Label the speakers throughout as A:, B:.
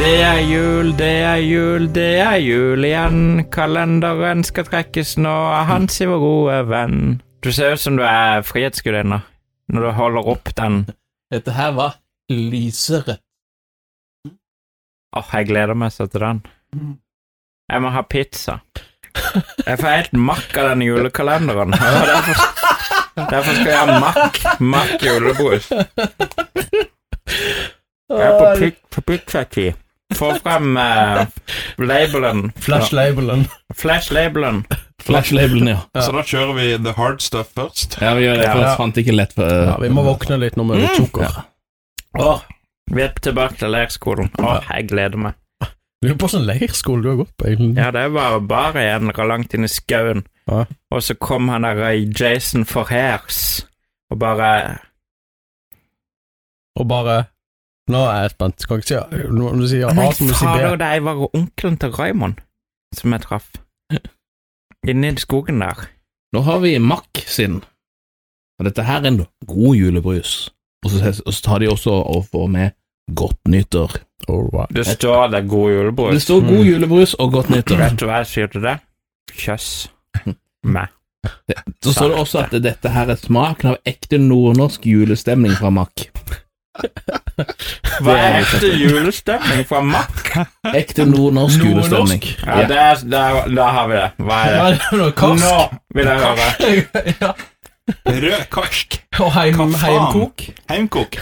A: Det er jul, det er jul, det er jul igjen. Kalenderen skal trekkes nå av Hansi, vår gode venn. Du ser ut som du er frihetsgudinne når du holder opp den.
B: Dette her var lysere.
A: Åh, jeg gleder meg så til den. Jeg må ha pizza. Jeg får helt makk av den julekalenderen. og Derfor, derfor skal jeg ha makk, makk julebrus. Jeg er på pik- på pikkfetti. Få frem eh, labelen.
B: Flashlabelen.
A: Flash-labelen.
C: Flashlabelen, ja.
B: Ja.
D: Så da kjører vi the hard stuff først.
C: Ja, vi gjør det, for
A: Ja.
C: jeg fant ikke lett eh, for
B: Ja, vi må våkne litt når vi er over sukker.
A: Åh, vi er tilbake til leirskolen. Åh, jeg gleder meg.
B: Lurer på hvordan leirskole du har gått på, egentlig.
A: Ja, det var bare en langt inn i skauen.
B: Ja.
A: Og så kom han der eh, Jason Forhairs og bare
B: Og bare Nå er jeg spent. Skal ikke si A, når du sier A,
A: Nei,
B: så må du si
A: fader,
B: B.
A: det var onkelen til Raymond som jeg traff. Inni skogen der.
C: Nå har vi Mack sin. Og dette her er en god julebrus. Og så, og så tar de også og får med godt nyttår.
B: Alright.
A: Det står der 'god
C: Det
A: julebrus'.
C: står god julebrus og godt nyttår.
A: Vet du hva jeg sier til det? Kjøss meg.
C: Så står det også at dette her er smaken av ekte nordnorsk julestemning fra Mack.
A: Hva er ekte julestemning fra Mack?
C: Ekte nordnorsk julestemning.
A: Ja, det er, det er, da har vi det. Hva er
B: Hva
A: det?
B: er det nå?
A: Nå
B: Karsk?
A: vil jeg høre.
B: ja.
D: Rød karsk.
B: Og heim,
D: Hva faen?
B: heimkok?
D: Heimkok.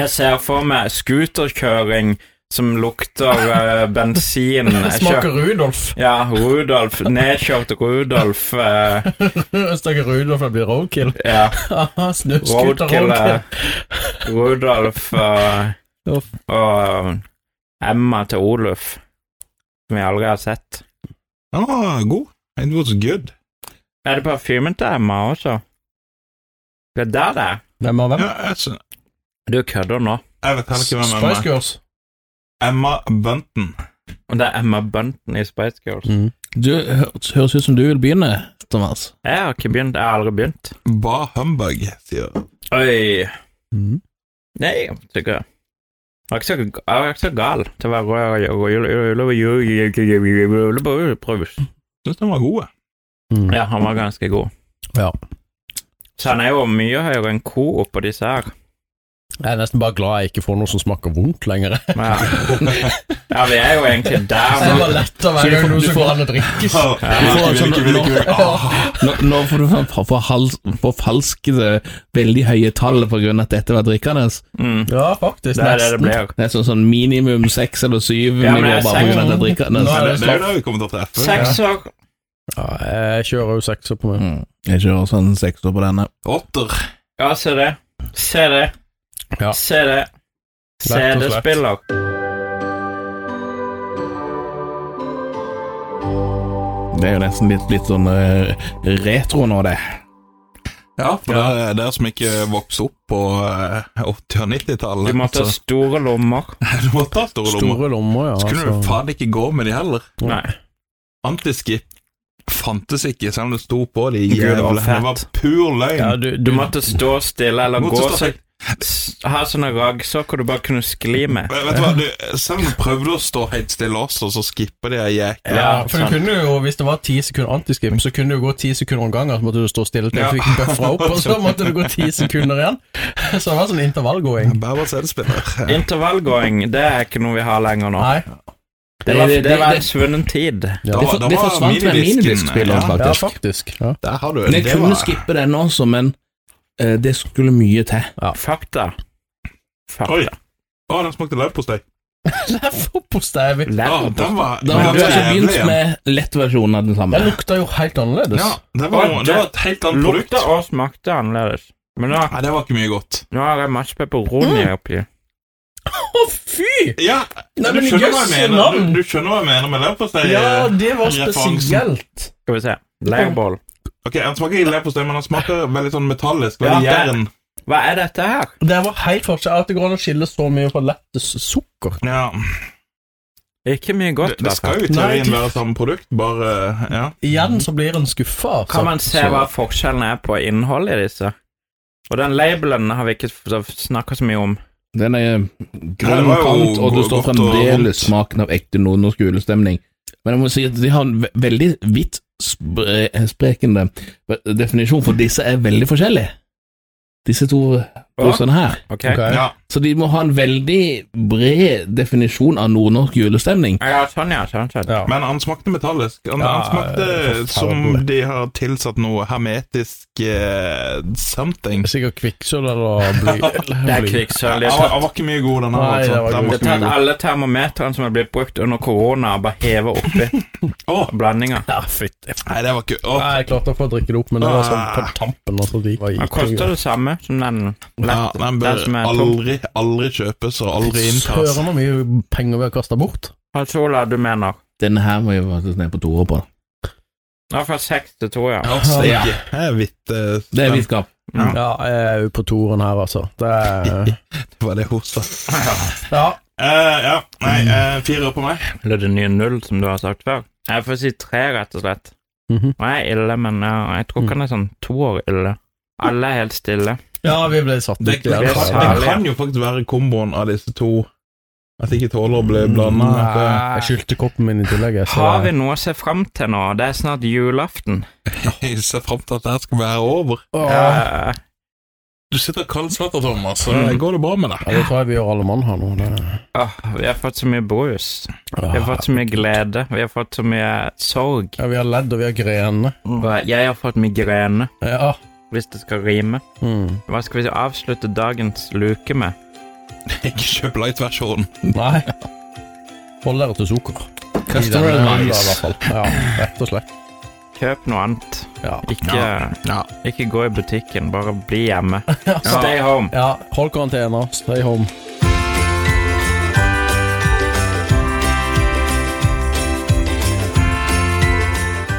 A: Jeg ser for meg scooterkjøring som lukter eh, bensin. Jeg
B: Smaker
A: kjør-
B: Rudolf.
A: Ja, Rudolf. Nedkjørt Rudolf. eh,
B: Snakker Rudolf det blir roadkill?
A: ja,
B: Aha, Snøskuter
A: roadkill. eh,
B: roadkill.
A: Rudolf eh,
B: Uff.
A: og Emma til Oluf, som jeg aldri har sett.
D: Den var god. It was good.
A: Er det parfymen til Emma også? Det er der det er.
B: Hvem av hvem?
D: Ja, jeg, skjønner.
A: Du kødder nå.
D: jeg vet heller ikke hvem Emma
B: Spice
D: er.
B: Girls.
D: Emma Bunton.
A: Og det er Emma Bunton i Spice Girls.
C: Du hø- høres ut som du vil begynne, Thomas.
A: Jeg har ikke begynt. Jeg har aldri begynt.
D: Ba humbug, sier hun.
A: Oi.
B: Mhm.
A: Nei, jeg tykker jeg. Jeg er ikke så, jeg er ikke så gal til å være rød og- og- og- og- julebrus.
B: Mm.
D: Syns den var god. jeg.
A: Ja, han var ganske god.
B: Ja.
A: Så han er jo mye høyere enn Coop og disse her.
B: Jeg er nesten bare glad jeg ikke får noe som smaker vondt lenger.
A: Men Ja, ja vi er jo egentlig der
B: Det
A: nå.
B: var lett å være noe som går an å drikkes.
D: Åh, vil ikke, Ah, vil ikke, vil ikke, vil ikke. Åh.
C: Nå, nå får du for- forhals- forfalskede veldig høye tall på grunn av at dette var drikkende.
A: Mm.
B: Ja, faktisk.
A: Det er det det
B: Nesten.
A: blir.
C: Det er sånn, sånn minimum seks eller syv
A: Ja, men
C: nivå
A: jeg
C: bare på grunn av at det er
B: Nå er
C: drikkende.
D: Det det er jo da vi kommer til å treffe.
A: Sekser.
B: Ja, jeg kjører jo sekser på meg.
C: Mm. Jeg kjører sånn sekser på denne.
D: Åtter.
A: Ja, se det. Se det.
B: Ja.
A: Se det.
B: Rett og slett.
A: CD-spiller.
C: Det er jo nesten litt, litt sånn eh, retro nå, det.
D: Ja, for det er dere som ikke vokste opp på eh, 80- og 90-tallet.
A: Du måtte ha
D: så-
A: store lommer.
D: Du måtte ha store lommer.
B: Store lommer, ja.
D: Så kunne du
B: altså.
D: faen ikke gå med de heller.
B: Mm.
A: Nei.
D: Antiskip fantes ikke, selv om det sto på de
A: Gud, det var
D: jævla. Det
A: fett.
D: var pur løgn.
B: Ja, du,
A: Du måtte stå stille eller
D: Måtte
A: gå
D: stå
A: så, s- Ha sånne raggsokker du bare kunne skli med.
D: Men Vet du hva, du, selv om du prøvde å stå helt stille også, så skipper de ei jækla
B: Ja, for du
A: sant.
B: kunne jo, Hvis det var ti sekunder antiskim, så kunne du gå ti sekunder om gangen, så måtte du stå stille til du
D: Ja.
B: fikk bøffra opp, og så måtte du gå ti sekunder igjen. Så det var sånn intervallgåing.
D: Bærbart CD-spiller.
A: Intervallgåing, det er ikke noe vi har lenger nå.
B: Nei,
A: Det var,
C: Det- det-
A: det var en
C: det-
A: svunnen tid.
B: Ja.
C: Det, for,
D: Da- da
C: det
D: var
C: forsvant med
D: minidisken,
C: minidiskspilleren,
D: ja.
B: ja,
C: faktisk.
B: faktisk. Ja.
D: Der har du
C: Men jeg
D: det.
C: kunne
D: Var,
C: skippe den også, men eh, det skulle mye til.
A: Fakta.
D: oi.
A: Fakta.
D: Å, den smakte leverpostei.
B: Leverpostei. vi-
D: Å,
A: Leverpostei.
D: Den var
C: Da
D: den
C: har
D: var
C: vi altså
D: jævlig
C: begynt
D: igjen.
C: med lettversjonen av den
B: Den
C: samme.
B: lukta jo helt annerledes.
D: Ja, det var, det var et helt annet sånn produkt.
A: Lukta og smakte annerledes. Men nå,
D: Nei, det var ikke mye godt.
A: nå har jeg masse pepperoni
B: Mm.
A: oppi.
B: Å, fy!
D: Ja,
B: Nei,
D: du,
B: men
D: skjønner hva
B: jøsse
D: jeg mener.
B: navn!
D: Du, du skjønner hva jeg mener med leverpostei?
B: Ja, det var
D: Referansen.
B: spesielt.
A: Skal vi se. Leirbål.
D: Ok, Den smaker ikke leverpostei, men den smaker veldig sånn metallisk.
A: Ja,
D: Veldig
A: det-
D: jern.
A: Hva er dette her?
B: Det var helt forskjell. At det går an å skille så mye fra lettest sukker.
D: Ja,
A: Ikke mye
D: det,
A: godt, altså. i
D: det
A: hvert fall.
D: skal jo i
B: Nei,
D: teorien
B: du-
D: være samme produkt, bare ja.
B: Igjen så blir en skuffa. Altså.
A: Kan man se hva forskjellen er på innholdet i disse? Og den labelen har vi ikke snakka så mye om.
C: Den er
D: det
C: grønn
D: var jo
C: kant, og det står
D: godt og
C: fremdeles
D: vondt.
C: smaken av ekte nordnorsk julestemning. Men jeg må si at de har en ve- veldig vidt spre sprekende definisjon, for disse er veldig forskjellige. Disse to brusene her.
A: Ok.
B: Ok.
D: Ja.
C: Så de må ha en veldig bred definisjon av nordnorsk julestemning.
A: Ja, sånn, ja. Sånn, sånn.
B: Ja.
D: Men han smakte metallisk. Han,
B: Ja,
D: han
B: forferdelig.
D: smakte som de har tilsatt noe hermetisk eh, something.
B: Sikkert kvikksølv eller bly.
A: Det
B: eller
A: er
B: bly.
A: kvikksølv.
D: Den
A: Det er
D: var
A: tatt,
D: den var ikke mye god, den her.
B: Nei,
D: altså.
B: den var god.
D: Den var
A: det er
D: ikke
A: tatt
D: mye god.
A: alle termometrene som har blitt brukt under korona, og bare hevet oppi
D: Åh,
A: blandinga.
B: Ja, fytti.
D: nei, det var ikke åh.
B: Nei, jeg klarte å få drikke det opp, men det var sånn på tampen. Altså, de var
A: Den koster det samme som den.
D: Ja,
A: Lett.
D: den bør
A: Den som er tom.
D: aldri, aldri kjøpes og aldri inntas.
B: Søren hvor mye penger vi har kasta bort.
A: Hans Ola, du mener?
C: Denne her må jo faktisk ned på toer på.
A: Ja, fra seks til to, ja.
D: Ja, altså, steike.
C: Ja.
D: Det er hvitt eh,
C: Det er
D: den-
C: vitskap.
A: Ja.
B: Ja, jeg er jo på toeren her, altså. Det er
D: det var det hun sa.
B: Ja.
D: Eh, ja, nei, eh, fire på meg.
A: Eller det nye null, som du har sagt før. Jeg får si tre, rett og slett.
B: Mhm.
A: Og jeg er ille, men ja, jeg tror ikke han er sånn to år ille. Alle er helt stille.
B: ja, vi ble satt
D: Det,
B: ut i
D: det,
A: er
D: kan,
A: så
D: det
A: herlig,
D: kan jo faktisk være komboen av disse to. At jeg ikke tåler å bli blanda.
B: Jeg skylte koppen min i tillegg. jeg, Så
A: Har vi noe å se fram til nå? Det er snart julaften.
D: Jeg ser fram til at dette skal være over.
B: Ja,
A: Eh,
D: Du sitter kaldsvetter, Thomas.
A: Mm.
D: Går det bra med deg?
B: det tror jeg vi gjør alle mann her nå. Det,
A: åh, vi har fått så mye brus. Vi har fått så mye glede. Vi har fått så mye sorg.
B: ja, vi har ledd, og vi har grener.
A: Og jeg har fått migrene,
B: Ja.
A: hvis det skal rime.
B: Mm.
A: Hva skal vi avslutte dagens luke med?
D: Ikke kjøp light-versjonen.
B: Nei. Hold dere til sukker.
C: Customer
B: I denne jula, i
C: advice.
B: hvert fall. Ja, rett og slett.
A: Kjøp noe annet.
B: Ja.
A: Ikke,
D: Ja.
A: ikke gå i butikken, bare bli hjemme. Stay home.
B: ja hold karantena. Stay home.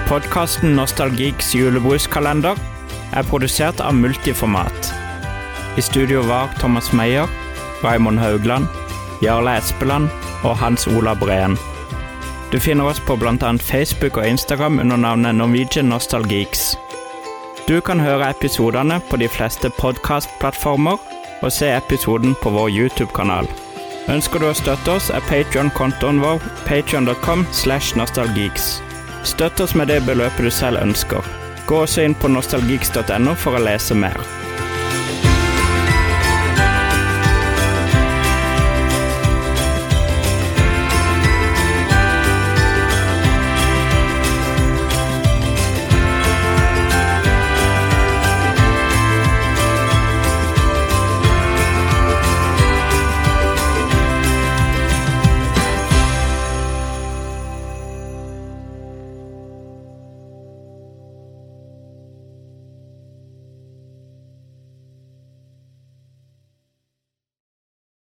A: Podkasten Nostalgiks julebruskalender er produsert av Multiformat. I studio var Thomas Meyer, Raymond Haugland, Jarle Espeland og Hans Ola Breen. Du finner oss på bl.a. Facebook og Instagram under navnet Norwegian Nostalgeeks. Du kan høre episodene på de fleste podkastplattformer og se episoden på vår YouTube-kanal. Ønsker du å støtte oss, er Patreon-kontoen vår patreon.com slash nostalgeeks. Støtt oss med det beløpet du selv ønsker. Gå også inn på nostalgeeks.no for å lese mer.